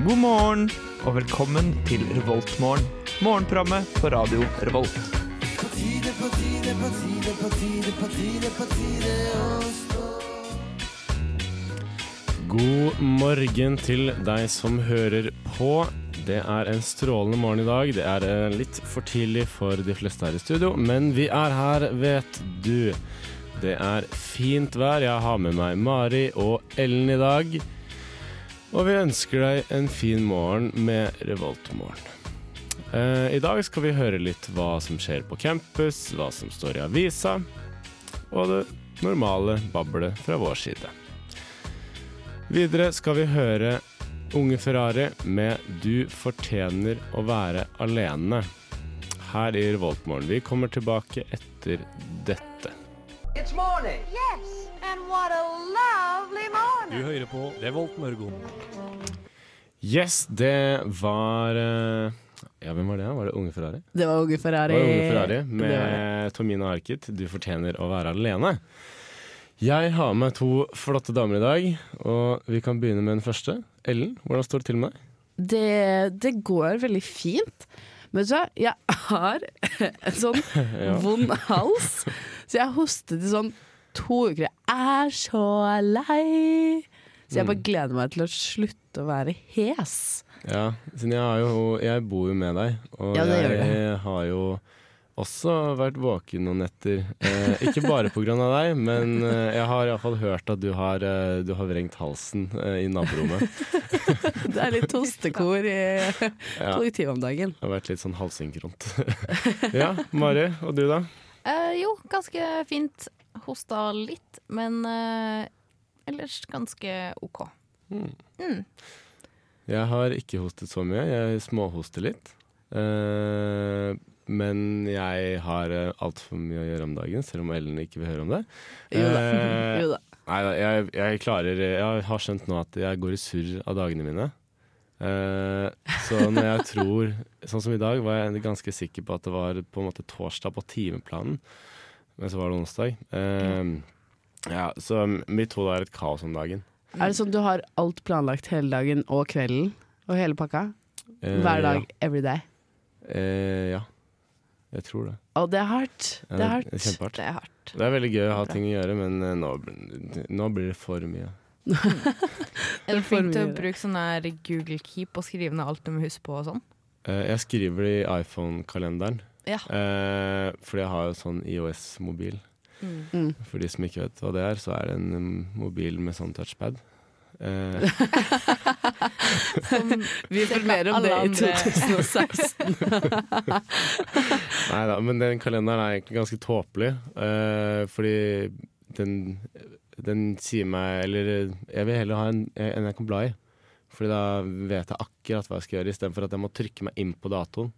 morgen, og velkommen til Revoltmorgen. Morgenprogrammet på radio Revolt. God morgen til deg som hører på. Det er en strålende morgen i dag. Det er eh, litt for tidlig for de fleste her i studio, men vi er her, vet du. Det er fint vær. Jeg har med meg Mari og Ellen i dag. Og vi ønsker deg en fin morgen med Revoltmorgen. Eh, I dag skal vi høre litt hva som skjer på campus, hva som står i avisa, og det normale bablet fra vår side. Videre skal vi høre Unge Ferrari med 'Du fortjener å være alene' her i Revoltmorgen. Vi kommer tilbake etter dette. It's morning. Yes, and what a lovely morning. hører på Revolt Mørgon. Yes, det var eh, Ja, hvem var det? Var det Unge Ferrari? Det var Unge Ferrari. Det var Unge Ferrari Det var det. med Tomina Arket, 'Du fortjener å være alene'. Jeg har med to flotte damer i dag, og vi kan begynne med den første. Ellen, hvordan står det til med deg? Det, det går veldig fint. Men vet du hva, jeg har en sånn Ja. vond hals, så jeg har hostet i sånn to uker. Jeg er så lei. Så jeg bare Mm. gleder meg til å slutte å være hes. Ja, siden jeg, har jo, jeg bor jo med deg, og Ja, det gjør jeg har jo også vært våken noen netter. Eh, ikke bare pga. deg, men eh, jeg har iallfall hørt at du har, eh, du har vrengt halsen eh, i naborommet. Det er litt hostekor i Ja, det kollektivet om dagen. har vært litt sånn halsynkront. ja, Mari, og du da? Eh, jo, ganske fint. Hosta litt, men eh, ellers ganske OK. Jeg har ikke hostet så mye. Jeg småhoster litt. Eh, men jeg har eh, altfor mye å gjøre om dagen, selv om Ellen ikke vil høre om det. Jo da. Eh, Jo da. Nei, da, jeg, jeg klarer Jeg har skjønt nå at jeg går i surr av dagene mine. Eh, så når jeg tror Sånn som i dag var jeg ganske sikker på at det var på en måte torsdag på timeplanen, men så var det onsdag. Eh, ja, så mitt hode er et kaos om dagen. Er det sånn du har alt planlagt hele dagen og kvelden og hele pakka? Eh, Hver dag, every day. Ja. Eh, ja. Jeg tror det. Og det er hardt. Ja, Det er det er hardt. kjempehardt. Det er hardt. Det er veldig gøy å ha ting å gjøre, men eh, nå, nå blir det for mye. Er du får flink til mye å det. bruke sånn her Google Keep og skrive ned alt du må huske på og sånn? Eh, jeg skriver det i iPhone-kalenderen. Ja. Eh, fordi jeg har jo sånn IOS-mobil. Mm. For de som ikke vet hva det er, så er det en mm, mobil med sånn touchpad. Eh, Vi informerer om Alle det i andre- 2016. nei da, men den kalenderen er egentlig ganske tåpelig. Eh, fordi den, den sier meg Eller eh, jeg vil heller ha en, en jeg kan bla i. Fordi da vet jeg akkurat hva jeg skal gjøre, istedenfor at jeg må trykke meg inn på datoen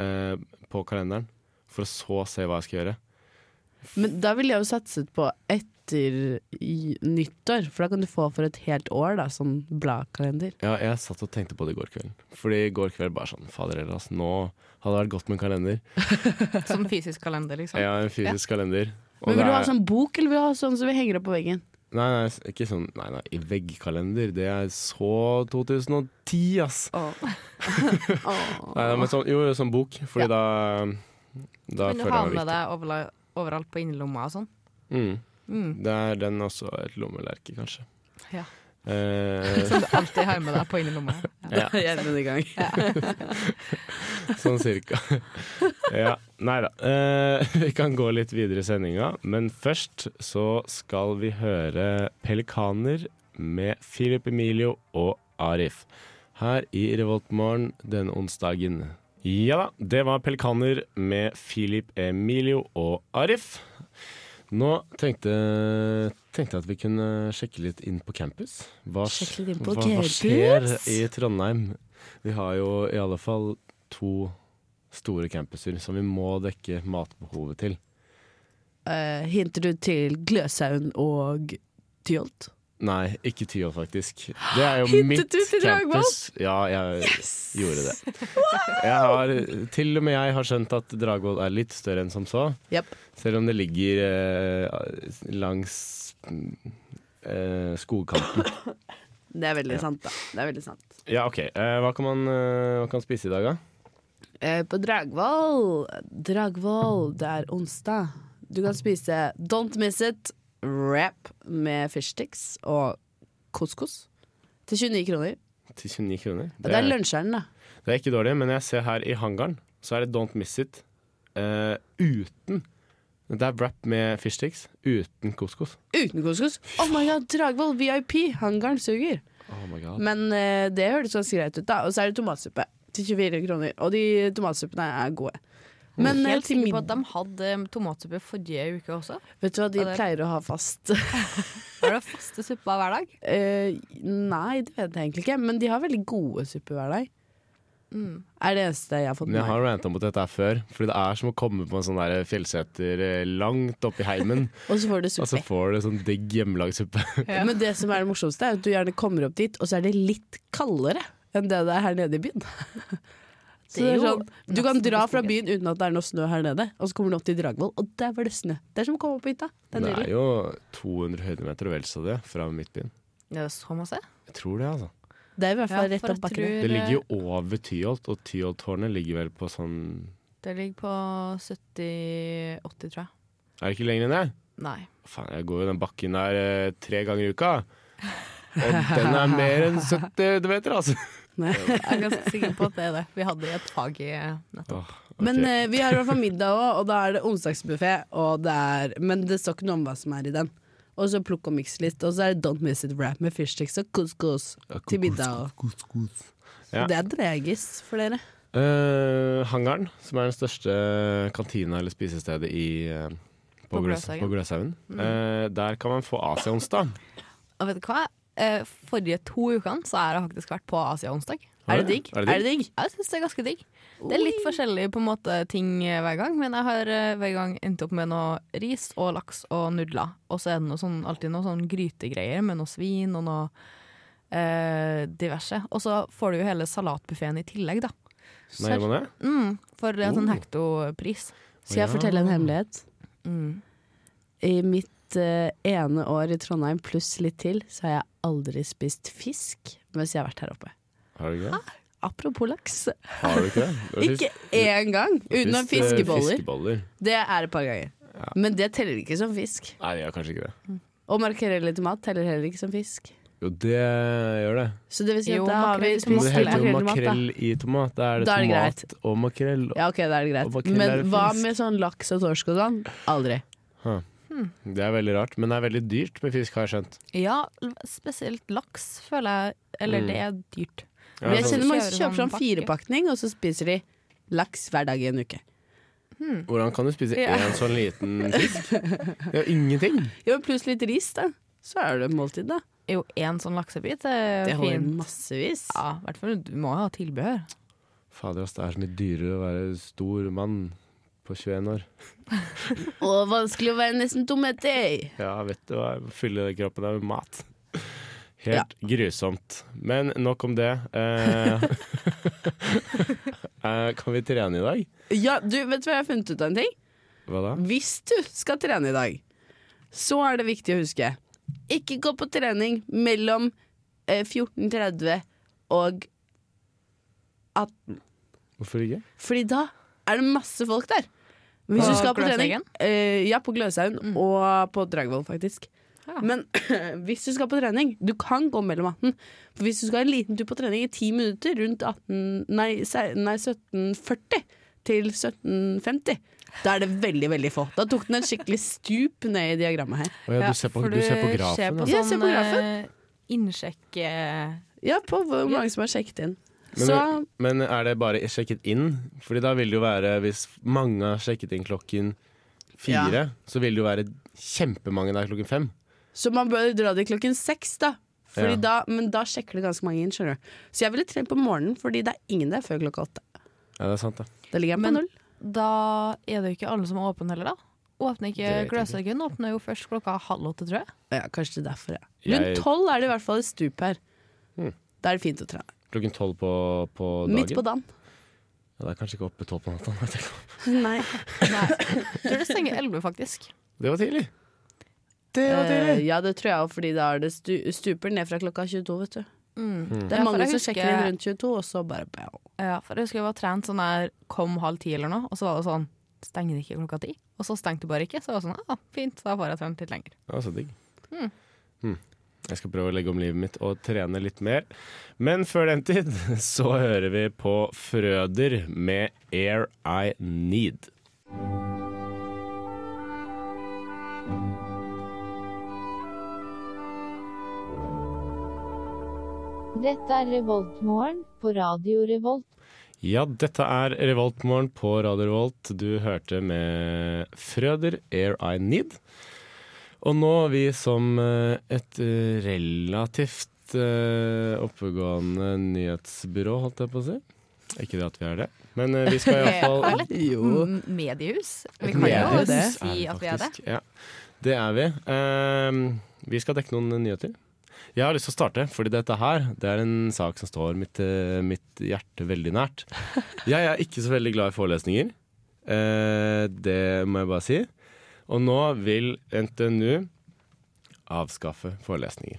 eh, på kalenderen. For å så se hva jeg skal gjøre. Men da ville jeg jo satset på etter i- nyttår, for da kan du få for et helt år, da, sånn bladkalender. Ja, jeg satt og tenkte på det i går kveld. Fordi i går kveld bare sånn Fader heller, altså. Nå hadde det vært godt med en kalender. Som fysisk kalender, liksom? Jeg har en fysisk kalender. og Sånn? Men vil det du ha er- sånn bok, eller vil du ha sånn som vi henger opp på veggen? Nei, nei, s- ikke sånn Nei, nei, i veggkalender. Det er så 2010, ass! Nei, nei, men sånn, jo, sånn bok, fordi da Da Men du føler har jeg meg med viktig. deg overla- overalt på innerlomma og sånn? Mm. Mm. Det er den også et lommelerke, kanskje. Ja. Eh, Som du alltid har med deg på innerlomma? ja, i gang. sånn cirka. ja, nei da. Eh, vi kan gå litt videre i sendinga, men først så skal vi høre Pelikaner med Philip Emilio og Arif. Her i Revoltmorgen denne onsdagen. Ja da, det var Pelikaner med Philip Emilio og Arif. Nå tenkte, tenkte jeg at vi kunne sjekke litt inn på campus. Hva, Sjekke litt inn på hva, campus? hva skjer i Trondheim? Vi har jo i alle fall to store campuser som vi må dekke matbehovet til. Eh, hinter du til Gløshaugen og Tyholt? Nei, ikke Tyholt faktisk. Det er jo Hintet mitt du til Dragvoll? campus. Ja, jeg gjorde det. Jeg har, til og med jeg har skjønt at Dragvoll er litt større enn som så. Japp. Selv om det ligger eh, langs eh, skogkanten. Det er veldig sant, da. Det er veldig sant. Ja, OK. Eh, hva, kan man, eh, hva kan man spise i dag, da? Eh, på Dragvoll Dragvoll, det er onsdag. Du kan spise Don't Miss It wrap med fishsticks og couscous til 29 kroner. Til 29 kroner? Ja, det er lunsjeren, da. det er ikke dårlig, men jeg ser her i hangaren, så er det Don't Miss It eh, uten Det er wrap med fishsticks uten couscous. Uten couscous. Oh my god, Dragvoll VIP! Hangaren suger. Oh my god. Men eh, det høres ganske greit ut, da. Og så er det tomatsuppe til 24 kroner. Og de tomatsuppene er gode. Men eh, Mm, Helt til sikker på at middag de hadde eh, tomatsuppe forrige uke også. Vet du hva de Ja, det- pleier å ha fast? Er det faste suppa hver dag? Eh, nei, det vet jeg egentlig ikke. Men de har veldig gode supper hver dag. Mm. Er det eneste jeg har fått Men med jeg meg. har ranta mot dette her før, Fordi det er som å komme på en sånn der fjellseter eh, langt oppi heimen, Og så får du og så Altså, suppe. får du sånn digg hjemmelagssuppe. Men det som er det morsomste, er at du gjerne kommer opp dit, og så er det litt kaldere enn det det er her nede i byen. Så Det det er er jo sånn, du kan nesten dra fra beskrivet. byen uten at det er noe snø her nede, og så kommer du opp til Dragvoll, og der var det snø. Det er som å komme opp på hytta. Det er Det er nydelig. jo 200 høydemeter og vel så det fra midtbyen. Det er så masse. Jeg tror det, altså. Det er i hvert Ja, fall for rett jeg opp bakken. tror- der. Det ligger jo over Tyholt, og Tyholttårnet ligger vel på sånn Det ligger på 70-80, tror jeg. Er det ikke lenger enn det? Nei. Faen, jeg går jo den bakken der eh, tre ganger i uka. Og den er mer enn 70 meter, altså. Jeg er ganske sikker på at det er det. Vi hadde et fag i nettopp. Åh, ok. Men eh, vi har i hvert fall middag òg, og da er det onsdagsbuffé. Men det står ikke noe om hva som er i den. Og så plukk og miks litt, og så er det Don't Miss It Wrap med fishsticks og couscous til middag. også. Ja. Så det er dregis for dere. Eh, hangaren, som er den største kantina eller spisestedet i, eh, på, På Gløs- Gløshaugen. på Gløshaugen, Mm. Eh, der kan man få Asiaonsdag. Og vet du hva? Eh, Forrige to ukene så har jeg faktisk vært på Asia onsdag. Har Er det du? digg? Er det digg? Jeg syns det er ganske digg. Det er litt forskjellig på en måte ting eh, hver gang, men jeg har eh, hver gang endt opp med noe ris og laks og nudler. Og så er det noe sånn, alltid noe sånn grytegreier med noe svin og noe eh, diverse. Og så får du jo hele salatbuffeen i tillegg, da. Nei, gjør man det? Mm, for en sånn Oh. hektopris. Skal jeg Ja. fortelle en hemmelighet? Mm. I mitt eh, ene år i Trondheim pluss litt til, så har jeg aldri spist fisk mens jeg har vært her oppe. Har du ikke det? Apropos laks. Har du ikke det? Du har Ikke én gang! spist- Utenom spist, eh, fiskeboller. fiskeboller. Det er et par ganger. Men det teller ikke som fisk. Nei, jeg gjør kanskje ikke det. Og markerell i tomat teller heller ikke som fisk. Jo, det gjør det. Så det vil si Jo, at da har vi makrell Men i det tomat spist heter jo makrell makrell i tomat, da. i tomat. Da er det Da er det tomat og makrell. Ja, ok, da er det Og greit. makrell er Men det hva fisk. med sånn laks og torsk og sånn? Aldri. Det er veldig rart, men det er veldig dyrt med fisk, har jeg skjønt. Ja, l- spesielt laks, føler jeg. Eller Mm. det er dyrt. Ja, Men jeg sånn- kjenner mange som Kjører kjøper sånn sånn firepakning, og så spiser de laks hver dag i en uke. Hvordan kan du spise Ja. én sånn liten fisk? Det er jo ingenting. Jo, pluss litt ris, da. Så er det måltid, da. Jo, én sånn laksebit er Det holder fint. massevis. Ja, i hvert fall du må jo ha tilbehør. Fader, ass, det er så mye dyrere å være stor mann på 21 år. Og vanskelig å være nesten tometer. Ja, vet du hva, fylle kroppen av mat. Helt grusomt. Men nok om det. Eh, eh, kan vi trene i dag? Ja, du, vet du hva jeg har funnet ut av en ting? Hva da? Hvis du skal trene i dag, så er det viktig å huske Ikke gå på trening mellom eh, 14.30 og Hvorfor ikke? Fordi da er det masse folk der. Hvis På du skal på trening Gløshaugen? Mm. eh, Ja, på Gløshaugen og på Dragvoll, faktisk. Ja. Men hvis du skal på trening Du kan gå mellom 18. For hvis du skal ha en liten tur på trening i 10 minutter rundt 18, nei, se- nei, 17.40 til 17.50, da er det veldig, veldig få. Da tok den et skikkelig stup ned i diagrammet her. Å ja, Ja, du, ser på, for du ser på grafen? altså. ser ja. ja. på Ja, se på sånn eh, innsjekk eh, Ja, på hvor mange som har sjekket inn. Men- Så Men er det bare sjekket inn? Fordi da vil det jo være, hvis mange har sjekket inn klokken fire, så vil det jo være kjempemange der klokken fem. Så man bør dra dit klokken seks, da. Fordi Ja. da. Men da sjekker det ganske mange inn. skjønner du Så jeg ville trent på morgenen, fordi det er ingen der før klokka åtte. Ja, det er sant, det. Da ligger jeg på Men- null. Da er det jo ikke alle som er åpne heller, da. Åpner ikke Det vet jeg ikke. Gløshaugen åpner jo først klokka halv åtte, tror jeg. Ja, kanskje det er derfor, ja. Jeg- Rundt tolv er det i hvert fall et stup her. Hmm. Da er det fint å trene. Klokken tolv på, på dagen? Midt på dagen. Ja, det er kanskje ikke oppe tolv på natta. vet jeg ikke. Nei. Nei. Jeg tror det stenger elleve, faktisk. Det var tidlig. Det var Eh, tidlig! ja, det tror jeg òg, fordi da er det stu stuper ned fra klokka 22, vet du. Hmm. Mm. Det er mange som husker, sjekker inn rundt 22, og så bare bam. Ja, for jeg husker jeg var trent sånn der kom halv ti eller noe, og så var det sånn Stenger det ikke klokka ti? Og så stengte det bare ikke. Så var det sånn, ah, fint, da får jeg trent litt lenger. Ja, så digg. Hmm. Jeg skal prøve å legge om livet mitt og trene litt mer. Men før den tid så hører vi på Frøder med 'Air I Need'. Dette er Revoltmorgen på Radio Revolt. Ja, dette er Revoltmorgen på Radio Revolt. Du hørte med Frøder, 'Air I Need'. Og nå, vi som eh, et eh, relativt eh, oppegående nyhetsbyrå, holdt jeg på å si. Ikke det at vi er det, men eh, vi skal iallfall Jo. Mm, Mediehus. Vi Et kan jo mediehus det. si er at vi er det. faktisk, Ja, det er vi. Ehm, vi skal dekke noen nyheter. Jeg har lyst til å starte, fordi dette her det er en sak som står mitt, eh, mitt hjerte veldig nært. Jeg er ikke så veldig glad i forelesninger. Eh, det må jeg bare si. Og nå vil NTNU avskaffe forelesninger.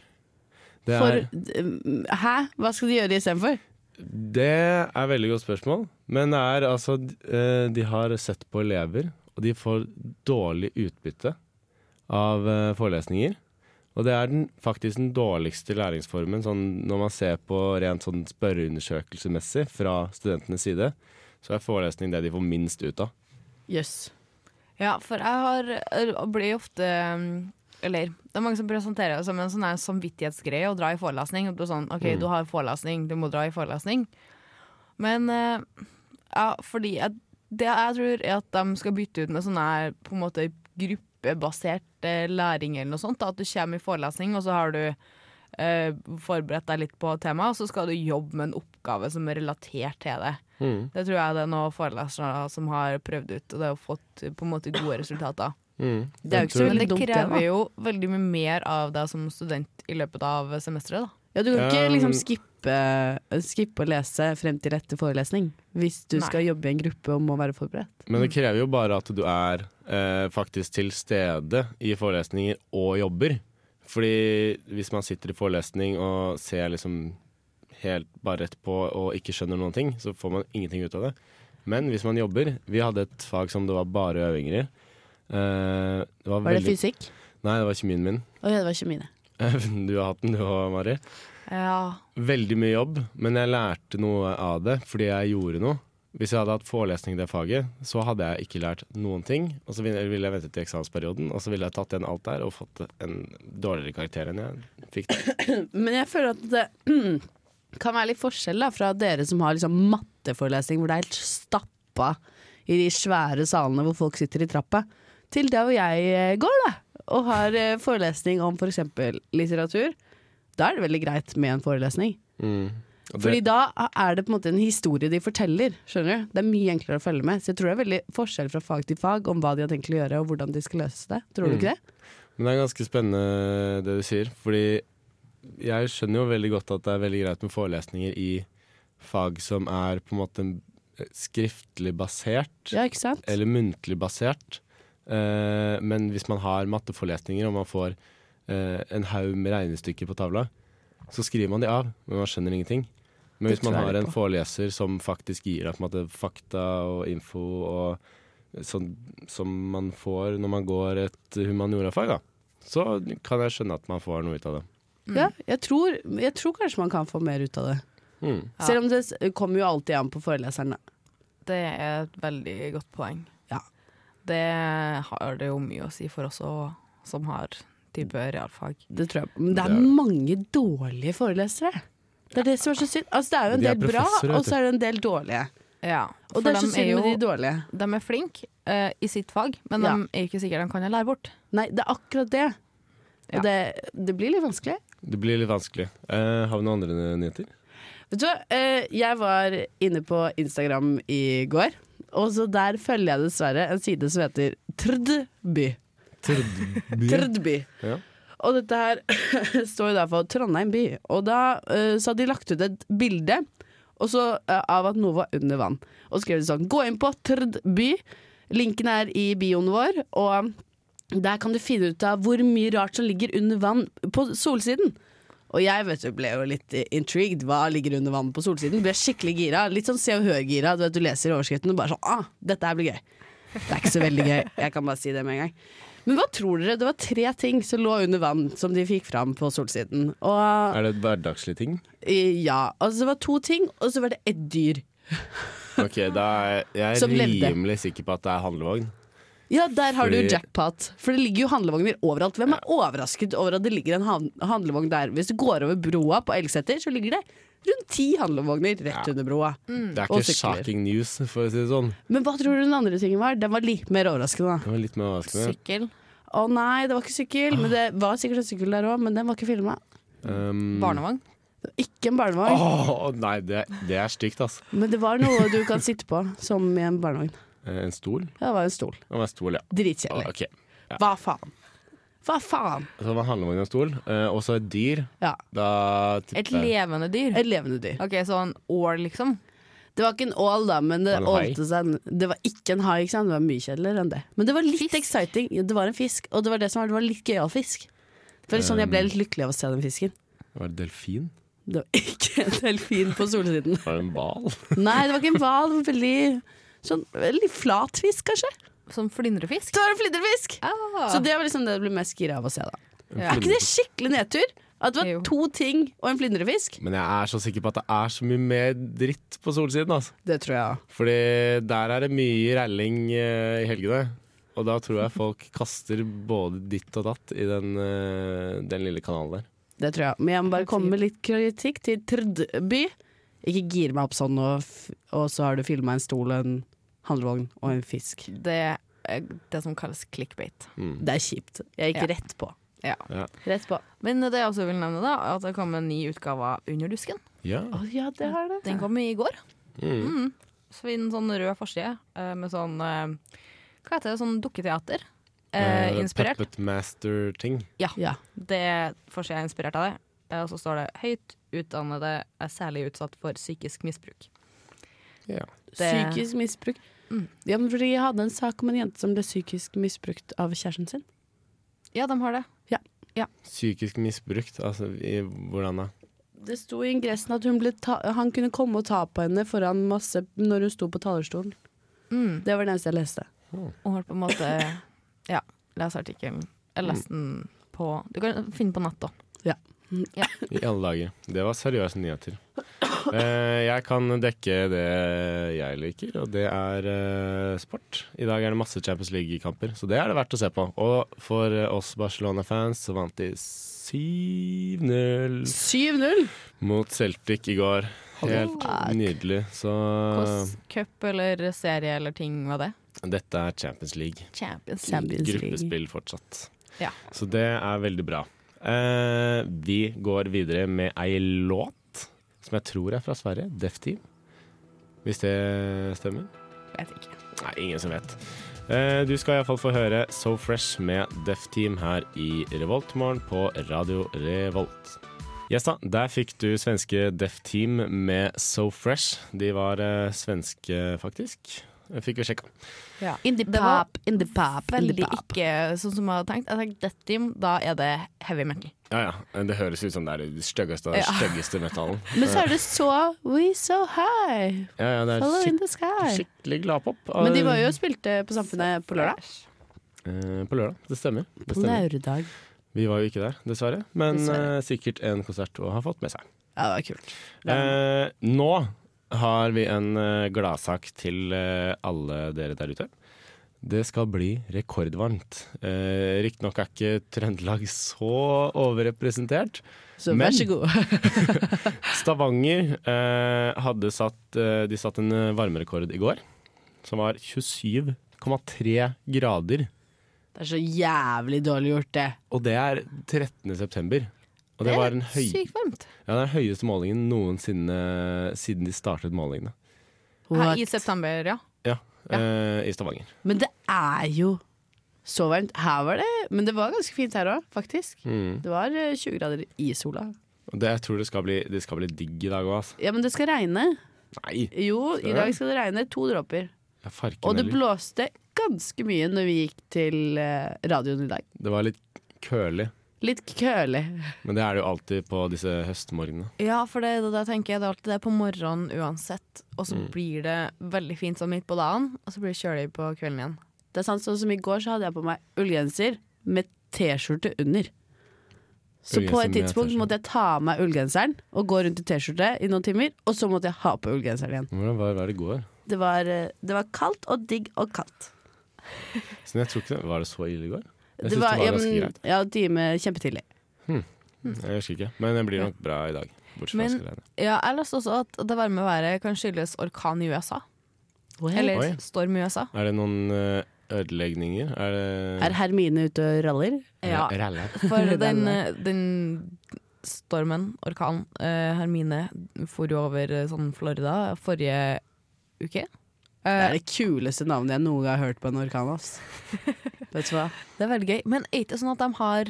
Det For er, eh, Hæ? Hva skal de gjøre istedenfor? det er veldig godt spørsmål. Men det er altså eh, De har sett på elever, og de får dårlig utbytte av eh, forelesninger. Og det er den, faktisk den dårligste læringsformen sånn, når man ser på rent sånn spørreundersøkelsesmessig fra studentenes side. Så er forelesning det de får minst ut av. Jøss. Ja, for jeg har, eh, blir ofte mm, Eller det er mange som presenterer det som en sånn her samvittighetsgreie å dra i forelesning. Og du er sånn, OK, Mm. du har forelesning, du må dra i forelesning. Men eh, ja, fordi jeg, det jeg tror er at de skal bytte ut med sånn her på en måte gruppebasert eh, læring eller noe sånt. Da. At du kommer i forelesning, og så har du eh, forberedt deg litt på temaet, og så skal du jobbe med en oppgave som er relatert til det. Det tror jeg det er noen forelesere som har prøvd ut, og det har fått på en måte gode resultater. Det er jo ikke så Men veldig det dumt, det. krever da. jo veldig mye mer av deg som student i løpet av semesteret, da. Ja, du kan ikke Um, liksom skippe, skippe å lese frem til etter forelesning hvis du Nei. skal jobbe i en gruppe og må være forberedt. Men det krever jo bare at du er eh, faktisk til stede i forelesninger og jobber. Fordi hvis man sitter i forelesning og ser liksom helt bare rett på og ikke skjønner noen ting, så får man ingenting ut av det. Men hvis man jobber Vi hadde et fag som det var bare øvinger i. Eh, det var, Var det veldig- fysikk? Nei, det var kjemien min. Å ja, det var kjemi, det. du har hatt den, du òg, Mari. Ja. Veldig mye jobb, men jeg lærte noe av det fordi jeg gjorde noe. Hvis jeg hadde hatt forelesning i det faget, så hadde jeg ikke lært noen ting. Og så ville ville jeg ventet til eksamensperioden, og så ville jeg tatt igjen alt der og fått en dårligere karakter enn jeg fikk. da. Men jeg føler at det kan være litt forskjell da, fra dere som har liksom matteforelesning hvor det er helt stappa i de svære salene hvor folk sitter i trappa, til der hvor jeg eh, går da, og har eh, forelesning om f.eks. litteratur. Da er det veldig greit med en forelesning. Og det- Fordi da er det på en måte en historie de forteller. skjønner du? Det er mye enklere å følge med. Så jeg tror det er veldig forskjell fra fag til fag om hva de har tenkt å gjøre og hvordan de skal løse det. Mm. Tror du ikke det? Men det er ganske spennende det du sier, fordi jeg skjønner jo veldig godt at det er veldig greit med forelesninger i fag som er på en måte skriftlig basert. Ja, ikke sant? eller muntlig basert. Eh, men hvis man har matteforelesninger og man får eh, en haug med regnestykker på tavla, så skriver man de av, men man skjønner ingenting. Men Det hvis man tror jeg har litt en på. foreleser som faktisk gir deg på en måte fakta og info og sånn som man får når man går et humaniorafag, da, så kan jeg skjønne at man får noe ut av det. Ja, jeg tror, jeg tror kanskje man kan få mer ut av det. Mm. Ja. Selv om det s- kommer jo alltid an på foreleseren. da. Det er et veldig godt poeng. Ja. Det har det jo mye å si for oss også, som har type realfag. Det tror jeg. Men det Det er er det. mange dårlige forelesere. Det er det som er så synd. Altså, det er jo en De er del bra, professorer, vet og så er det en del dårlige. Ja, Og for det er de så synd med de dårlige. De er flinke eh, i sitt fag, men Ja. de er ikke sikre de kan lære bort. Nei, det er akkurat det. Ja. Og det, det blir litt vanskelig. Det blir litt vanskelig. Eh, har vi noen andre nyheter? Vet du hva, Eh, jeg var inne på Instagram i går, og så der følger jeg dessverre en side som heter Trdby. Trdby. Ja. Og dette her står jo da for Trondheim by. Og da eh, så hadde de lagt ut et bilde og så, eh, av at noe var under vann. Og skrev det sånn Gå inn på Trd by. Linken er i bioen vår. Og Der kan du finne ut av hvor mye rart som ligger under vann på solsiden. Og jeg vet, du, ble jo litt eh, intrigued. Hva ligger under vann på solsiden? Ble skikkelig gira. Litt sånn Se og Hør-gira. Du, vet, du leser overskriften og bare sånn ah, dette her blir gøy. Det er ikke så veldig gøy. Jeg kan bare si det med en gang. Men hva tror dere? Det var tre ting som lå under vann som de fikk fram på solsiden. Og Er det et hverdagslig ting? eh, ja, altså det var to ting, og så var det et dyr. Ok, da er jeg Som levde. rimelig sikker på at det er handlevogn. Ja, der har du Fordi- jackpot. For det ligger jo handlevogner overalt. Hvem er overrasket over at det ligger en han- handlevogn der? Hvis du går over broa på Elgseter, så ligger det rundt ti handlevogner rett under broa. Det er Og ikke sykler. shocking news, for å si det sånn. Men hva tror du den andre tingen var? Den var litt mer overraskende. da. Det var litt mer overraskende. Sykkel. Å nei, det var ikke sykkel. Men det var sikkert en sykkel der òg, men den var ikke filma. Um, Barnevogn. Ikke en barnevogn, Åh, nei, det, det er stygt, altså. men det var noe du kan sitte på som i en barnevogn. Eh, En stol? Ja, Det var en stol. Det var en stol, ja. Ah, Dritkjedelig. Ok, Hva faen? Hva faen? Så det var handlevogn og en stol, eh, og så et dyr. Ja. Da Et tipper jeg levende dyr. Et levende dyr. Ok, så en år, liksom. Det var ikke en ål, da, men det, Var det en hai? ålte seg en- det var ikke en hai. Ikke sant? Det var mye kjedeligere enn det. Men det var litt exciting. Ja, Det var en fisk, og det var det som var, det var litt gøyal fisk. For sånn, Jeg ble litt lykkelig av å se den fisken. Var det delfin? Det var ikke en delfin på solsiden. Var det en hval? Nei, det var ikke en hval. det var Veldig, sånn, veldig flat fisk, kanskje. Som flyndrefisk. Det var en flyndrefisk! Ah. Så det var liksom det jeg ble mest gira av å se. da Ja. Er ikke det skikkelig nedtur? At det Jo. var to ting og en flyndrefisk? Men jeg er så sikker på at det er så mye mer dritt på solsiden, altså. Det tror jeg òg. Fordi der er det mye ralling eh, i helgene. Og da tror jeg folk kaster både ditt og datt i den, eh, den lille kanalen der. Det tror jeg. Men jeg må bare komme med litt kritikk til Trdby. Ikke gir meg opp sånn, og, f og så har du filma en stol, en handlevogn og en fisk. Det er det som kalles clickbait. Det er kjipt. Jeg gikk Ja. rett på. Ja. Ja. Rett på. Men det jeg også vil nevne, da, er at det kom en ny utgave av Under dusken. Ja. Å ja, det har det. Den kom i går. Mm. Så vi en sånn rød forside eh, med sånn eh, Hva heter det? Sånn dukketeater. Eh, Eh, inspirert. Puppet Master-ting. Ja. Det forsida er inspirert av det. Eh, Og så står det 'Høyt utdannede er særlig utsatt for psykisk misbruk'. Det- Psykisk misbruk. Mm. Ja, men fordi jeg hadde en sak om en jente som ble psykisk misbrukt av kjæresten sin. Ja, de har det. Psykisk misbrukt, altså i, hvordan da? Det sto i ingressen at hun ble ta han kunne komme og ta på henne foran masse når hun sto på talerstolen. Mm. Det var det eneste jeg leste. Og har på en måte Ja, les artikkelen. Jeg leste den på Du kan finne på nett, da. I alle dager. Det var seriøse nyheter. Eh, jeg kan dekke det jeg liker, og det er eh, sport. I dag er det masse Champions League-kamper, så det er det verdt å se på. Og for eh, oss Barcelona-fans så vant de 7-0 7-0! mot Celtic i går. Helt nydelig. Så Eh, Hvilken cup eller serie eller ting var det? dette er Champions League. Champions Champions League. Gruppespill fortsatt. Ja. Så det er veldig bra. Eh, vi går videre med ei låt som jeg tror er fra Sverige, Def Team. Hvis det stemmer? Vet ikke. Nei, ingen som vet. Eh, du skal iallfall få høre So Fresh med Def Team her i Revoltmorgen på Radio Revolt. Yes da, der fikk du svenske Def Team med So Fresh. De var eh, svenske, faktisk. Fikk vi sjekka. In the Det var pop, in the pop, in the Veldig pop. ikke sånn som jeg hadde tenkt. Jeg tenkte Death Team, da er det heavy metal. Ja, ja. Det høres ut som det er det styggeste av Ja. den styggeste metallen. Men så er det så We so high, Ja, ja, det er follow skik in the sky. skikkelig gladpop. Men de var jo og spilte på Samfunnet på lørdag. Eh, På lørdag. Det stemmer. det stemmer. Naurdag. Vi var jo ikke der, dessverre. Men Dessverre. eh, sikkert en konsert å ha fått med seg. Ja, det var kult. Eh, nå har vi en eh, gladsak til eh, alle dere der ute. Det skal bli rekordvarmt. Eh, Riktignok er ikke Trøndelag så overrepresentert. Så Men- vær så god. Stavanger eh, hadde satt eh, De satt en eh, varmerekord i går, som var 27,3 grader. Det er så jævlig dårlig gjort, det. Og det er 13. september. Og det, var den, høy, ja, sykt varmt. den høyeste målingen noensinne siden de startet målingene. Her, I september, ja. Ja, eh, I Stavanger. Men det er jo så varmt. Her var det Men det var ganske fint her òg, faktisk. Mm. Det var eh, 20 grader i sola. Og Det, jeg tror det skal, bli, det skal bli digg i dag òg, altså. Ja, men det skal regne. Nei, Jo, i det? dag skal det regne to dråper. jeg farken Og det heller. blåste ganske mye når vi gikk til eh, radioen i dag. Det var litt kølig, Litt kølig. men det er det jo alltid på disse høstmorgenene. Ja, for det, det, det tenker jeg det er alltid det på morgenen uansett. Og så blir det veldig fint sånn midt på dagen, og så blir det kjølig på kvelden igjen. Det er sant, sånn som I går så hadde jeg på meg ullgenser med T-skjorte under. Ullgenser Så på et med tidspunkt T-skjorte. måtte jeg ta av meg ullgenseren og gå rundt i T-skjorte i noen timer. Og så måtte jeg ha på ullgenseren igjen. Hvordan var var det i går? Det var, eh, det var kaldt og digg og kaldt. Så jeg tror ikke det, Var det så ille i går? Jeg Det synes var, det ja, var ganske men- greit. ja, time kjempetidlig. Jeg husker ikke, men det blir nok bra i dag. Bortsett fra Men- skrevet. Ja, jeg leste også at det varme været kan skyldes orkan i USA. Eller Oi. storm i USA. Er det noen eh, ødelegninger? Er det Er Hermine ute og raller? Ja, Rally. for den, eh, Denne. den stormen, orkanen, eh, Hermine, for jo over eh, sånn Florida forrige uke. Det Eh, er det kuleste navnet jeg noen gang har hørt på en orkan. Ass. Vet du hva? det er veldig gøy. Men er det ikke sånn at de har,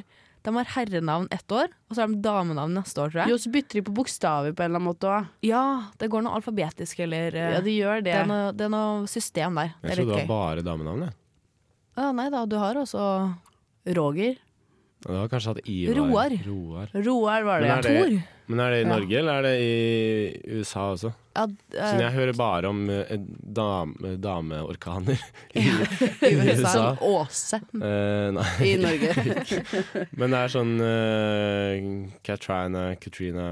de har herrenavn ett år, og så har de damenavn neste år, tror jeg? Jo, så bytter de på bokstaver på en eller annen måte òg. Ja, det går noe alfabetisk, eller eh, Ja, de gjør det, det. er noe, det er noe system der. Jeg Det er trodde litt det gøy. var bare damenavn. jeg. Å, nei da, du har også Roger. Og Det var kanskje at Ivar Roar. Roar. Roar var det. Men ja. er det- Tor. Men er det i Ja. Norge, eller er det i USA også? Ja, Siden eh, jeg hører bare om eh, dame, dameorkaner i I USA. Som Åse Eh, Nei. i Norge. Men det er sånn eh, Katrina, Katrina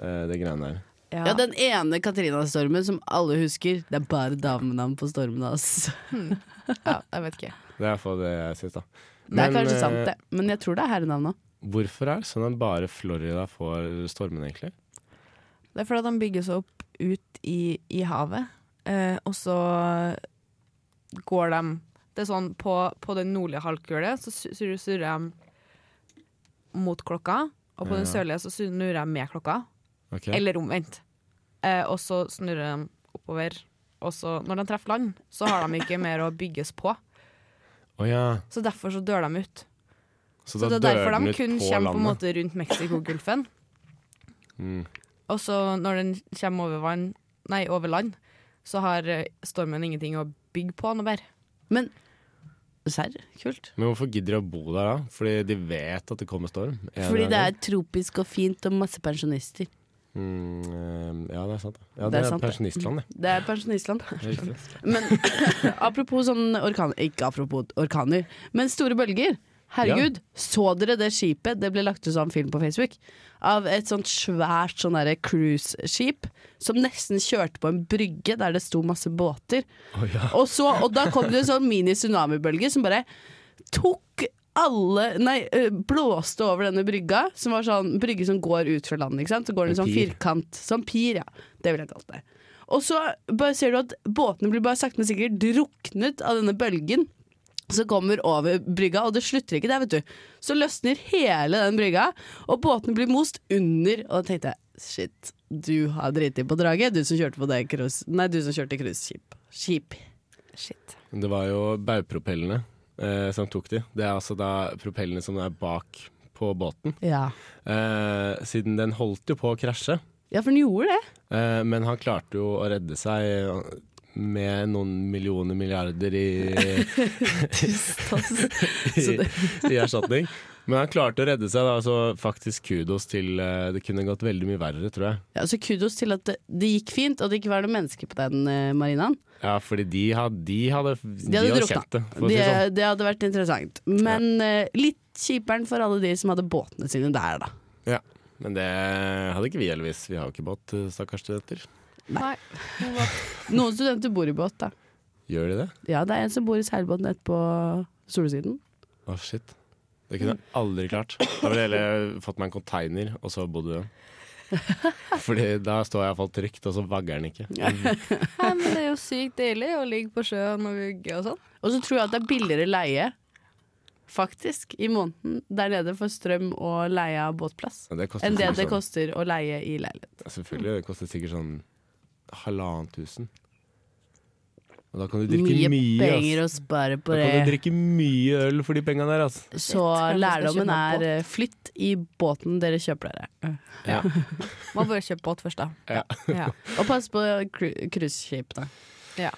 eh, Det greiene der. Ja, den ene Katrina-stormen som alle husker. Det er bare damenavn på stormen hans. ja, jeg vet ikke. Det er iallfall det jeg syns, da. Det er kanskje eh, sant, det. Men jeg tror det er herrenavn òg. Hvorfor er det sånn at bare Florida får stormen, egentlig? Det er fordi de bygger seg opp ut i, i havet, eh, og så går de Det er sånn på, på den nordlige halvkule så su- sur- surrer de mot klokka, og på den Ja. sørlige så snurrer de med klokka, Ok. eller omvendt. Eh, og så snurrer de oppover, og så når de treffer land, så har de ikke mer å bygges på. Å ja. Så derfor så dør de ut. Så, Så da det er dør derfor den de ut på kun kommer på en landet. måte rundt Mexicogolfen. Mm. Og så når den kommer over, vann, nei, over land, så har eh, stormen ingenting å bygge på noe mer. Men serr? Kult. Men hvorfor gidder de å bo der da? Fordi de vet at det kommer storm? en eller Fordi annen det gang. er tropisk og fint og masse pensjonister. Mm, eh, Ja, det er sant. Ja, Det det er er, sant, det. pensjonistland, det. Det er pensjonistland. det. er riktig. Men apropos sånn orkaner Ikke apropos orkaner, men store bølger. Herregud, så dere det skipet? Det ble lagt ut som film på Facebook. Av et sånt svært sånn derre cruiseskip som nesten kjørte på en brygge der det sto masse båter. Å, ja. Og, så, og da kom det en sånn mini-tsunamibølge som bare tok alle Nei, ø, blåste over denne brygga. Som var sånn brygge som går ut fra landet, ikke sant. Så går den En sånn pir. firkant. Sånn pir, ja. Det ville jeg kalt det. Og så bare ser du at båtene blir bare sakte, men sikkert druknet av denne bølgen. Som kommer over brygga, og det slutter ikke der, vet du. Så løsner hele den brygga, og båtene blir most under. Og da tenkte jeg shit, du har driti på draget, du som kjørte på det cruise... Nei, du som kjørte cruiseskip. Skip. Shit. Det var jo baugpropellene eh, som tok de. Det er altså da propellene som er bak på båten. Ja. Eh, siden den holdt jo på å krasje, ja, for den gjorde det. eh, men han klarte jo å redde seg. Med noen millioner milliarder i, i, i erstatning. Men han klarte å redde seg, da, så faktisk kudos til eh, Det kunne gått veldig mye verre, tror jeg. Ja, så kudos til at det, det gikk fint, og at det ikke var noen mennesker på den eh, marinaen. Ja, fordi de hadde, de hadde, de De hadde hadde drukna. kjent det. For å si Det, det sånn. det hadde vært interessant. Men eh, litt kjiperen for alle de som hadde båtene sine der, da. Ja. Men det hadde ikke vi, Elvis. Vi har jo ikke båt, eh, stakkars studenter. Nei. Noen studenter bor i båt, da. Gjør de det? Ja, det er en som bor i seilbåten nede på solsiden. Å, shit. Det kunne jeg aldri klart. Da ville jeg heller fått meg en container, og så bodd i den. Fordi da står jeg iallfall trygt, og så vagger den ikke. Nei, men det er jo sykt deilig å ligge på sjøen og vugge og sånn. Og så tror jeg at det er billigere leie, faktisk, i måneden der nede for strøm og leie av båtplass. Men det koster Enn det sikkert det sånn- koster å leie i leilighet. Selvfølgelig. Det koster sikkert sånn halvannet tusen. Og da kan du drikke mye, Mye penger ass. å spare på Da kan du det. drikke mye øl for de penga der, ass. Så Kanskje vi skal lærdommen kjøpe en er eh, flytt i båten dere kjøper dere. Ja. Man bør kjøpe båt først, da. Ja. Ja. Og pass på cru- cruiseskip, da.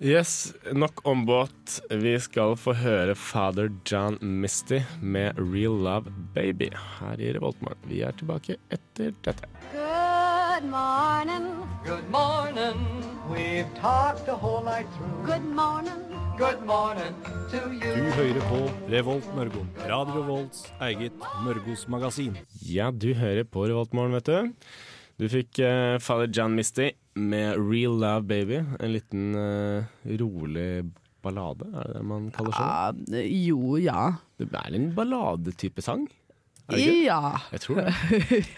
Yes, nok om båt. Vi skal få høre Father John Misty med Real Love Baby her i Revoltmorgen. Vi er tilbake etter dette. Good morning. Good morning. We've talked the whole night through. Good morning. Good morning to you. Du hører på Revolt Mørgon. Radio Volts eget Mørgos magasin. Ja, du hører på Revoltmorgen, vet du. Du fikk eh, Father John Misty med Real Love Baby. En liten eh, rolig ballade, er det det man kaller sånn? Ja, jo, ja. Det er en balladetype sang. Er det ikke? Ja. Jeg tror det.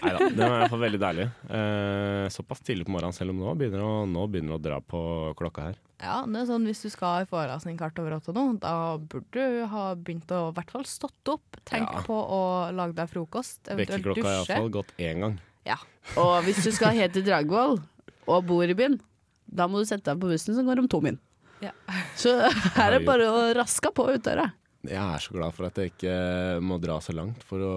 Neida, den er i hvert fall veldig deilig. Eh, såpass tidlig på morgenen, selv om nå begynner det å, nå begynner det å dra på klokka her. Ja, det er sånn Hvis du skal i forelesning kvart over åtte nå, da burde du ha begynt å i hvert fall stått opp. Tenk Ja. på å lage deg frokost, eventuelt Vekkerklokka har dusje. iallfall gått én gang. Ja. Og hvis du skal helt til Dragvoll og bor i byen, da må du sette deg på bussen som går om to min. Ja. Så her er det bare å raske på utdøra. Jeg er så glad for at jeg ikke må dra så langt for å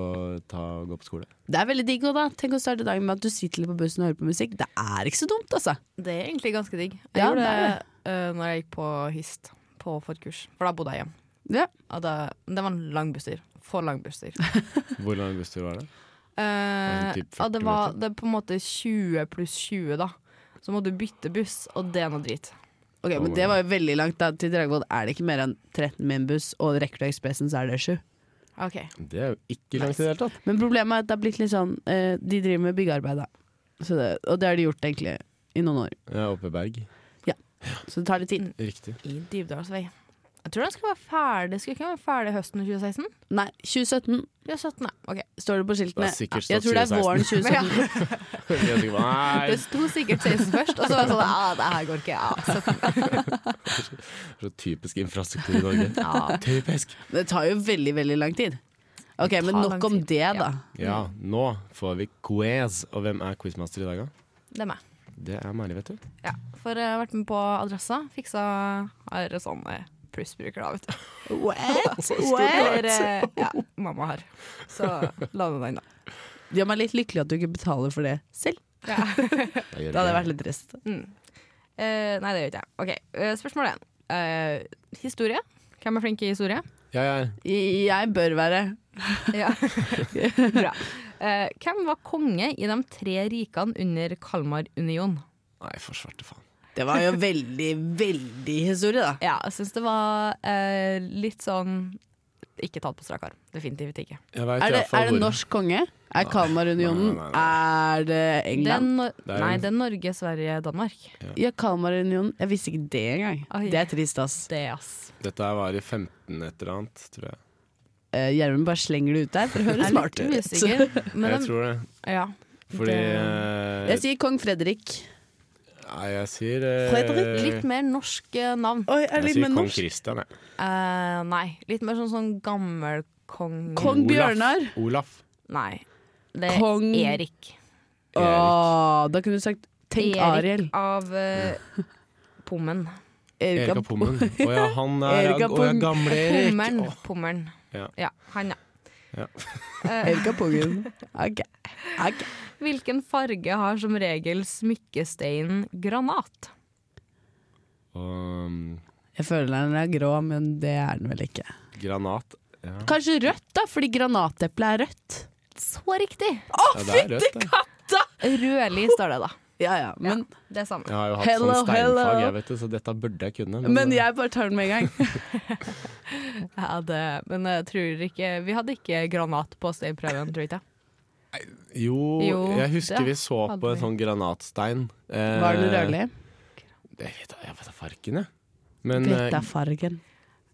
ta, gå på skole. Det er veldig digg òg, da. Tenk å starte dagen med at du sitter litt på bussen og hører på musikk. Det er ikke så dumt, altså. Det er egentlig ganske digg. Jeg Ja, gjorde det det er eh, når jeg gikk på HIST, på forkurs. For da bodde jeg hjemme. Ja. Og da, det var en lang busstur. For lang busstur. Hvor lang busstur var det? Eh, typ ja, 40 det var minutter. det er på en måte 20 pluss 20, da. Så må du bytte buss, og det er noe drit. Ok, men Det var jo veldig langt. da Til Dragvoll er det ikke mer enn 13 min buss, og rekker du Ekspressen, så er det 7. Ok. Det er jo ikke langt i det hele tatt. Men problemet er at det har blitt litt sånn eh, De driver med byggearbeid, da. Så det, og det har de gjort egentlig i noen år. Jeg er oppe i Berg. Så det tar litt Mm. tid. Riktig. I Dybdalsvei. Jeg tror den skal være ferdig Skulle ikke den være ferdig høsten 2016? Nei, 2017 2017, ja. Ok. står det på skiltene. Det er sikkert Jeg stått tror det er våren 2017. Jeg tenker bare, Det Nei, sto sikkert 16 først, og så var det sånn Ja, det her går ikke. Ja, altså, 17. så typisk infrastruktur i Norge. Ja. Typisk! Men Det tar jo veldig, veldig lang tid. Ok, Det men tar nok lang om tid, det, ja. da. Ja, nå får vi quiz. Og hvem er quizmaster i dag, da? Det er meg. Det er Mari, vet du. Ja, for jeg har vært med på Adressa. Fiksa har sånn eh, plussbruker, da, vet du. What? Altså, Eller eh, ja, mamma har. Så la nå den, da. Det gjør meg litt lykkelig at du ikke betaler for det selv. Jeg gjør Det hadde det. vært litt trist. Mm. Eh, nei, det gjør ikke jeg. Ok, eh, Spørsmål én. Eh, historie. Hvem er flink i historie? Ja, ja. Jeg bør være Ja. Bra. Eh, hvem var konge i de tre rikene under Kalmarunionen? Nei, for svarte faen. Det var jo veldig, veldig historie, da. Ja, jeg syns det var eh, litt sånn Ikke tatt på strak arm. Definitivt ikke. Jeg vet i Er det, hvert fall er hvor- det norsk konge? Er Nei, Kalmarunionen nei, nei, Er det Det er England? no er nei, en- det er Norge, Sverige, Danmark. Ja, Kalmarunionen. Jeg visste ikke det engang. Oi. Det er trist, ass. Det, ass. Dette her var i 15 et eller annet, tror jeg. Eh, Gjermund bare slenger det ut der for å Jeg høre er litt smartere ut. Så- usikker. Men Jeg de- tror det. ja. Fordi eh, Jeg sier kong Fredrik. Nei, jeg sier eh, Fredrik, litt mer norsk eh, navn. Oi, Jeg er det litt sier mer kong norsk? Kristian, jeg. Eh, nei, litt mer sånn, sånn gammel kong... Kong Bjørnar. Olaf. Nei. Det er Kong- Erik. Erik. Åh, da kunne du sagt Tenk Erik Ariel. av eh, Pommen. Erik Erik av av Pommen. Å ja, han er Erik Å av ja, Pommen. gamle Erik. Pommeren. Å, Pommeren. Ja. han, ja. Erik av Pungen. Ok. Ok. Hvilken farge har som regel smykkesteinen granat? og, um, Jeg føler den er grå, men det er den vel ikke. granat. Ja. Kanskje rødt, da, fordi granateplet er rødt. Så riktig! Ja, det er rødt, det. Rødlig står det, da. Ja ja, men, Det er samme. Jeg har jo hatt Hello, sånn steinfag, hello. jeg vet det, så dette burde jeg kunne. eh, men jeg bare tar den med en gang. Ja, det, men jeg tror ikke Vi hadde ikke granat på steinprøven, tror jeg ikke. jo, Jo, jeg husker vi det så hadde på en vi. sånn granatstein. Eh, Var den rødlig? Jeg vet da jeg vet da farken, jeg. Men eh, Vet da fargen.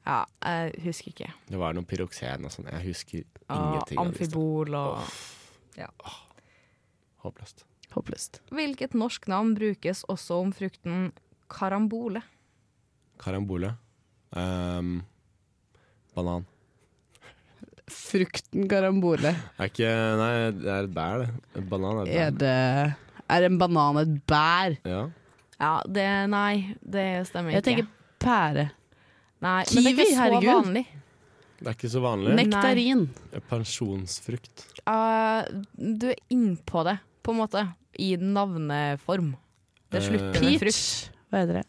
Ja, jeg husker ikke. det var noe pyroksen og sånn. Jeg husker Ah, ingenting. av det. amfibol og Håpløst. Håpløst. Hvilket norsk navn brukes også om frukten karambole? Karambole. Ehm, banan. Frukten karambole. Er ikke Nei, det er et bær, det. Banan er Er et bær. det Er en banan et bær? Ja. Ja, det Nei, det stemmer Jeg ikke. tenker pære. nei, men det er kiwi, ikke så herregud. vanlig. Det er ikke så vanlig. Nektarin. Pensjonsfrukt. Eh, du er innpå det, på en måte. I navneform. Det Eh, slutter med frukt. Peach. Hva heter det?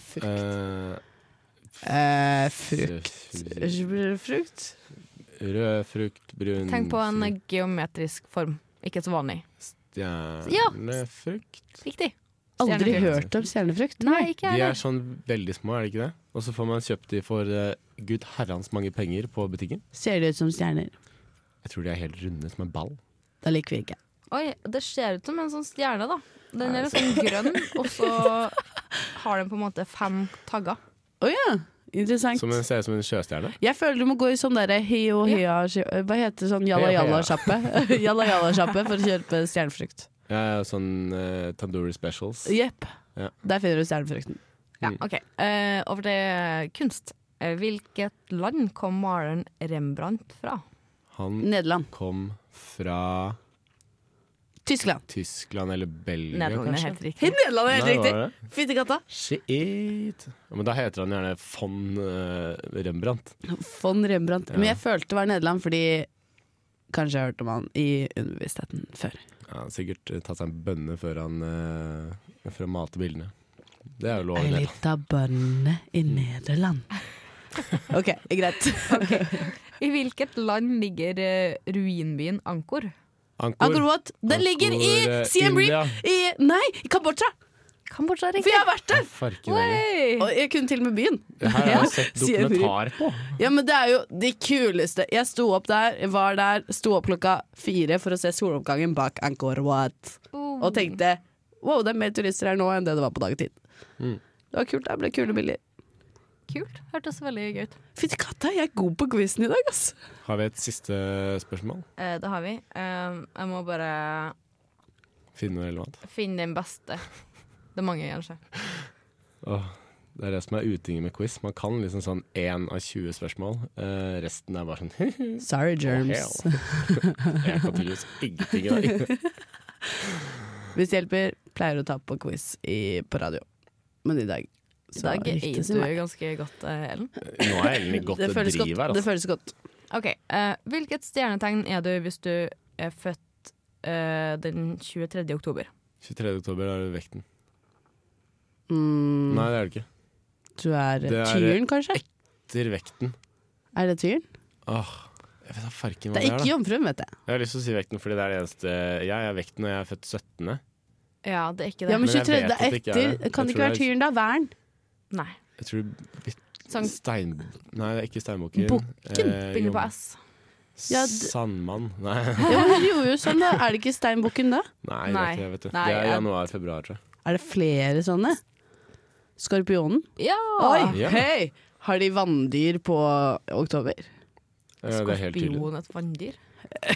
Frukt. Eh, Eh, frukt. frukt. Frukt. Rød frukt, brun Tenk på en frukt, geometrisk form. Ikke så vanlig. Stjernefrukt. Riktig. Aldri Stjernefrukt. hørt om stjernefrukt. Nei, ikke De jeg er heller. sånn veldig små, er det ikke det? Og så får man kjøpt de for eh, gud herrens mange penger på butikken. Ser de ut som stjerner? Jeg tror de er helt runde som en ball. Da liker vi ikke. Oi, det ser ut som en sånn stjerne, da. Den er litt sånn grønn, og så har den på en måte fem tagger. Å ja, interessant. Som en, ser ut som en sjøstjerne. Jeg føler du må gå i sånn derre heo hea Hva heter sånn jalla Heo, hea. jalla-sjappe? jalla jalla-sjappe for å kjøpe stjernefrukt. Ja, sånn eh, tandoori specials. Jepp. Ja. Der finner du stjernefrukten. Ja, ok. Eh, over til kunst. Eh, Hvilket land kom maleren Rembrandt fra? Han Nederland. kom fra Tyskland. Tyskland eller Belgia, Nederland er kanskje? helt riktig. Nederland er Nei, helt var det? riktig! Fittekatta. Shit. Ja, men da heter han gjerne von eh, Rembrandt. Von Rembrandt. Ja. Men jeg følte det var Nederland fordi Kanskje jeg har hørt om han i underbevisstheten før. Ja, han har sikkert eh, tatt seg en bønne før han eh, For å mate bildene. Det er jo lov. Ei Nederland. lita bønne i Nederland. OK, greit. I hvilket land ligger eh, ruinbyen Angkor? Angkor Wat, den ligger i Angkor, eh, Siem India. Reap! I, nei, i Kambodsja! Kambodsja, For riktig. jeg har vært der! Farken heller. Oi! Og jeg kunne til og med byen. Det her har jeg sett Siem Reap. dokumentar på. Ja, men det er jo de kuleste. Jeg sto opp der, var der, sto opp klokka fire for å se soloppgangen bak Angkor Wat. Oh, Og tenkte wow, det er mer turister her nå enn det det var på dagtid. Mm. Det var kult, det ble kule bilder. Kult. Hørtes veldig gøy ut. Fytti katta, jeg er god på quizen i dag, ass. Har vi et siste spørsmål? Eh, det har vi. Eh, jeg må bare Finne noe relevant. finne den beste. Det er mange, kanskje. Åh, det er det som er utingen med quiz. Man kan liksom sånn én av 20 spørsmål. Eh, resten er bare sånn Sorry, germs. Å, Jeg kan tydeligvis ingenting i dag. Hvis det hjelper, pleier å ta på quiz i, på radio. Men i dag I så dag gikk er det sin du vei. ganske godt, eh, Ellen. Nå er jeg egentlig godt Det det føles driv godt. her, Det altså. føles godt. Ok, eh, Hvilket stjernetegn er du hvis du er født eh, den 23. oktober? 23. oktober er det vekten. Mm, Nei, det er det ikke. du er, Det er- tyren, kanskje? Til vekten. Er det tyren? Åh, jeg vet da farken hva Det det er er, ikke da. jomfruen, vet jeg. Jeg har lyst til å si vekten fordi det er det eneste Jeg er vekten, og jeg er født 17. Ja, det er ikke det. Ja, men Men jeg 23. vet at det ikke er etter. det. Kan Jeg det ikke tror være det er- tyren, da? Væren? Nei. Jeg tror du Sankt- Stein... Nei, det er ikke steinbukken. Bukken? Eh, Begynner på Jon- S. Ja, d- Sandmann. Nei, Ja, men hun gjorde jo sånn, da. Er det ikke steinbukken da? Nei, det Nei. er ikke det, vet du. Nei, det er jeg- januar-februar, tror jeg. Er det flere sånne? Skorpionen? Ja! Ja. Hei! Har de vanndyr på oktober? Ja, det er helt tydelig. Skorpion, et vanndyr.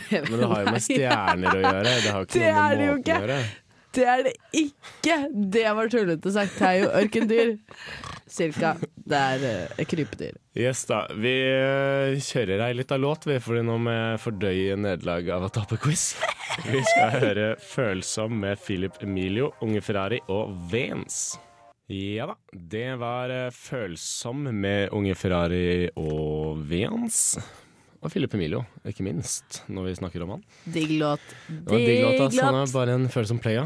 Men det har jo med stjerner å gjøre. Det har jo ikke Det noe er med det jo måten ikke. å gjøre. Det er det ikke! Det var tullete sagt. Det er jo ørkendyr. Cirka. Det er eh, krypedyr. Yes da, Vi eh, kjører ei lita låt, vi, fordi nå må jeg fordøye nederlag av å tape quiz. Vi skal høre 'Følsom' med Philip Emilio, Unge Ferrari og Vens. Ja da, det var eh, 'Følsom' med Unge Ferrari og Vens. Og Philip Emilio, ikke minst, når vi snakker om han. Digg låt. Det var en digg låt, ass. Han er bare en følsom playa.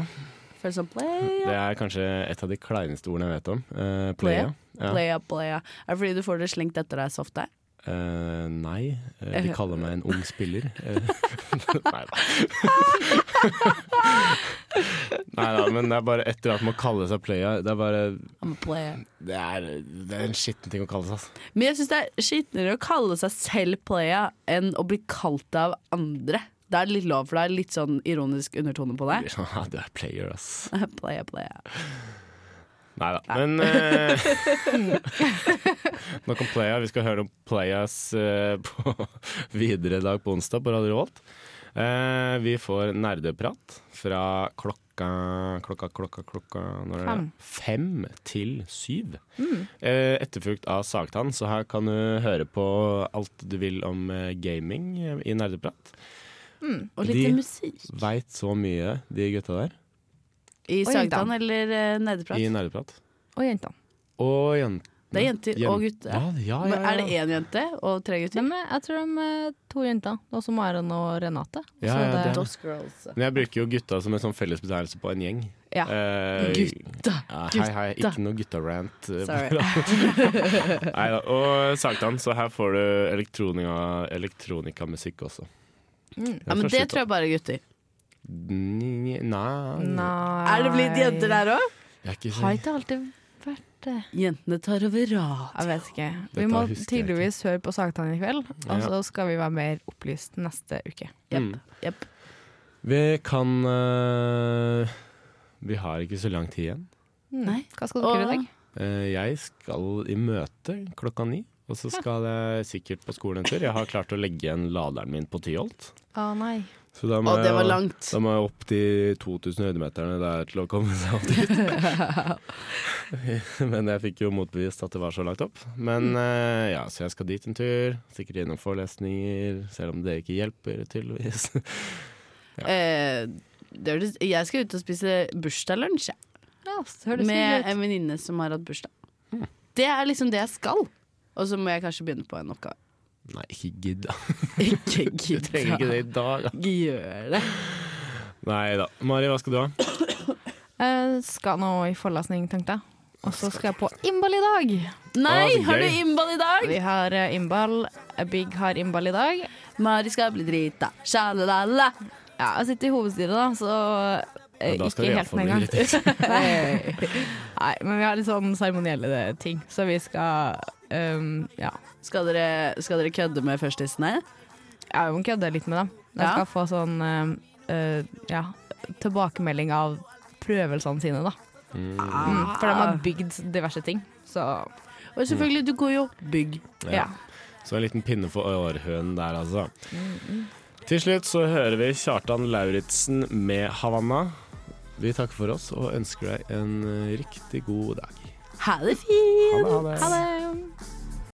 Føles som playa, Det er kanskje et av de kleineste ordene jeg vet om. Eh, playa. Playa? playa, playa. Er det fordi du får det slengt etter deg så ofte? Eh, nei, eh, de kaller meg en ung spiller. Eh, nei da. nei da, men det er bare etter at man kaller seg playa Det er bare I'm a player. Det er, det er en skitten ting å kalle seg. ass. Men jeg syns det er skitnere å kalle seg selv playa enn å bli kalt det av andre. Da er det litt lov, for det er litt sånn ironisk undertone på Det deg. blir sånn, Ja, du er player, ass. Playa, playa. Nei da. Men eh, Nok om playa. Vi skal høre om playas eh, på videre i dag på onsdag på Radio Revolt. Eh, vi får nerdeprat fra klokka klokka, klokka, klokka når er det? Fem til syv. Mm. Eh, etterfulgt av Sagtann, så her kan du høre på alt du vil om eh, gaming eh, i nerdeprat. Mm. Og litt De- musikk. Veit så mye, de gutta der, I Oi, Sagtan eller eh, Nederprat. i nerdeprat. Og jentene. Og jentene. Det er jenter og gutter. Ja, ja, ja, Men ja. Er det én jente og tre gutter? Nei, men jeg tror de er to jenter. Det er også Maren og Renate. Ja, Så ja, det- det er- Dos girls. Men jeg bruker jo gutta som en sånn fellesbetegnelse på en gjeng. Ja. Eh, Gutta! ja, hei, hei. gutta. Ikke noe guttarant. Sorry. Neida, Og Sagtan, så her får du elektronika- elektronikamusikk også. Mm. Ja, men det tror jeg bare er gutter. Nei, nei. Nei Er det blitt jenter der òg? Jeg er ikke Har så ikke alltid vært det. Jentene tar over rad. Jeg vet ikke. Vi Dette må husker jeg ikke. tydeligvis høre på Sagtann i kveld, og Ja. så skal vi være mer opplyst neste uke. Mm. Jepp. Vi kan eh, Vi har ikke så lang tid igjen. Nei. Hva skal dere gjøre i dag? Eh, jeg skal i møte klokka ni. Og så skal jeg sikkert på skolen en tur. Jeg har klart å legge igjen laderen min på Tyholt. Å nei. Så da Å, må det var jeg- langt. Da må jeg opp til 2000 høydemeterne der til å komme seg opp dit. Men jeg fikk jo motbevist at det var så langt opp. Men eh, ja, så jeg skal dit en tur. Sikkert gjennom forelesninger, selv om det ikke hjelper, tydeligvis. Eh, det høres- jeg skal ut og spise bursdagslunsj jeg, Ja, så høres med hyggelig ut. en venninne som har hatt bursdag. Det er liksom det jeg skal. Og så må jeg kanskje begynne på en oppgave. Nei, ikke gidd. da. Ikke Du trenger ikke gidda. det i dag. da. Gjør det. Nei da. Mari, hva skal du ha? Jeg skal nå i forelesning, tenkte jeg. Og så skal jeg på innball i dag. Nei, Å, så har du gøy. innball i dag? Vi har eh, innball. Big har innball i dag. Mari skal bli drita. Sjalalala. Ja, jeg sitter i hovedstyret, da, så eh, Ja, da skal du ikke helt iallfall med en bli gang. Nei. Nei, men vi har litt sånn seremonielle ting, så vi skal um, Ja. Skal dere, skal dere kødde med førstissene? Jeg må kødde litt med dem. De Ja. skal få sånn eh, eh, ja, tilbakemelding av prøvelsene sine, da. Mm, for de har bygd diverse ting. Så Ah. Og selvfølgelig, du går jo bygg. ja. Så en liten pinne for århønen der, altså. Til slutt så hører vi Kjartan Lauritzen med 'Havanna'. Vi takker for oss og ønsker deg en eh, riktig god dag. Ha det fint! Ha det. Ha det!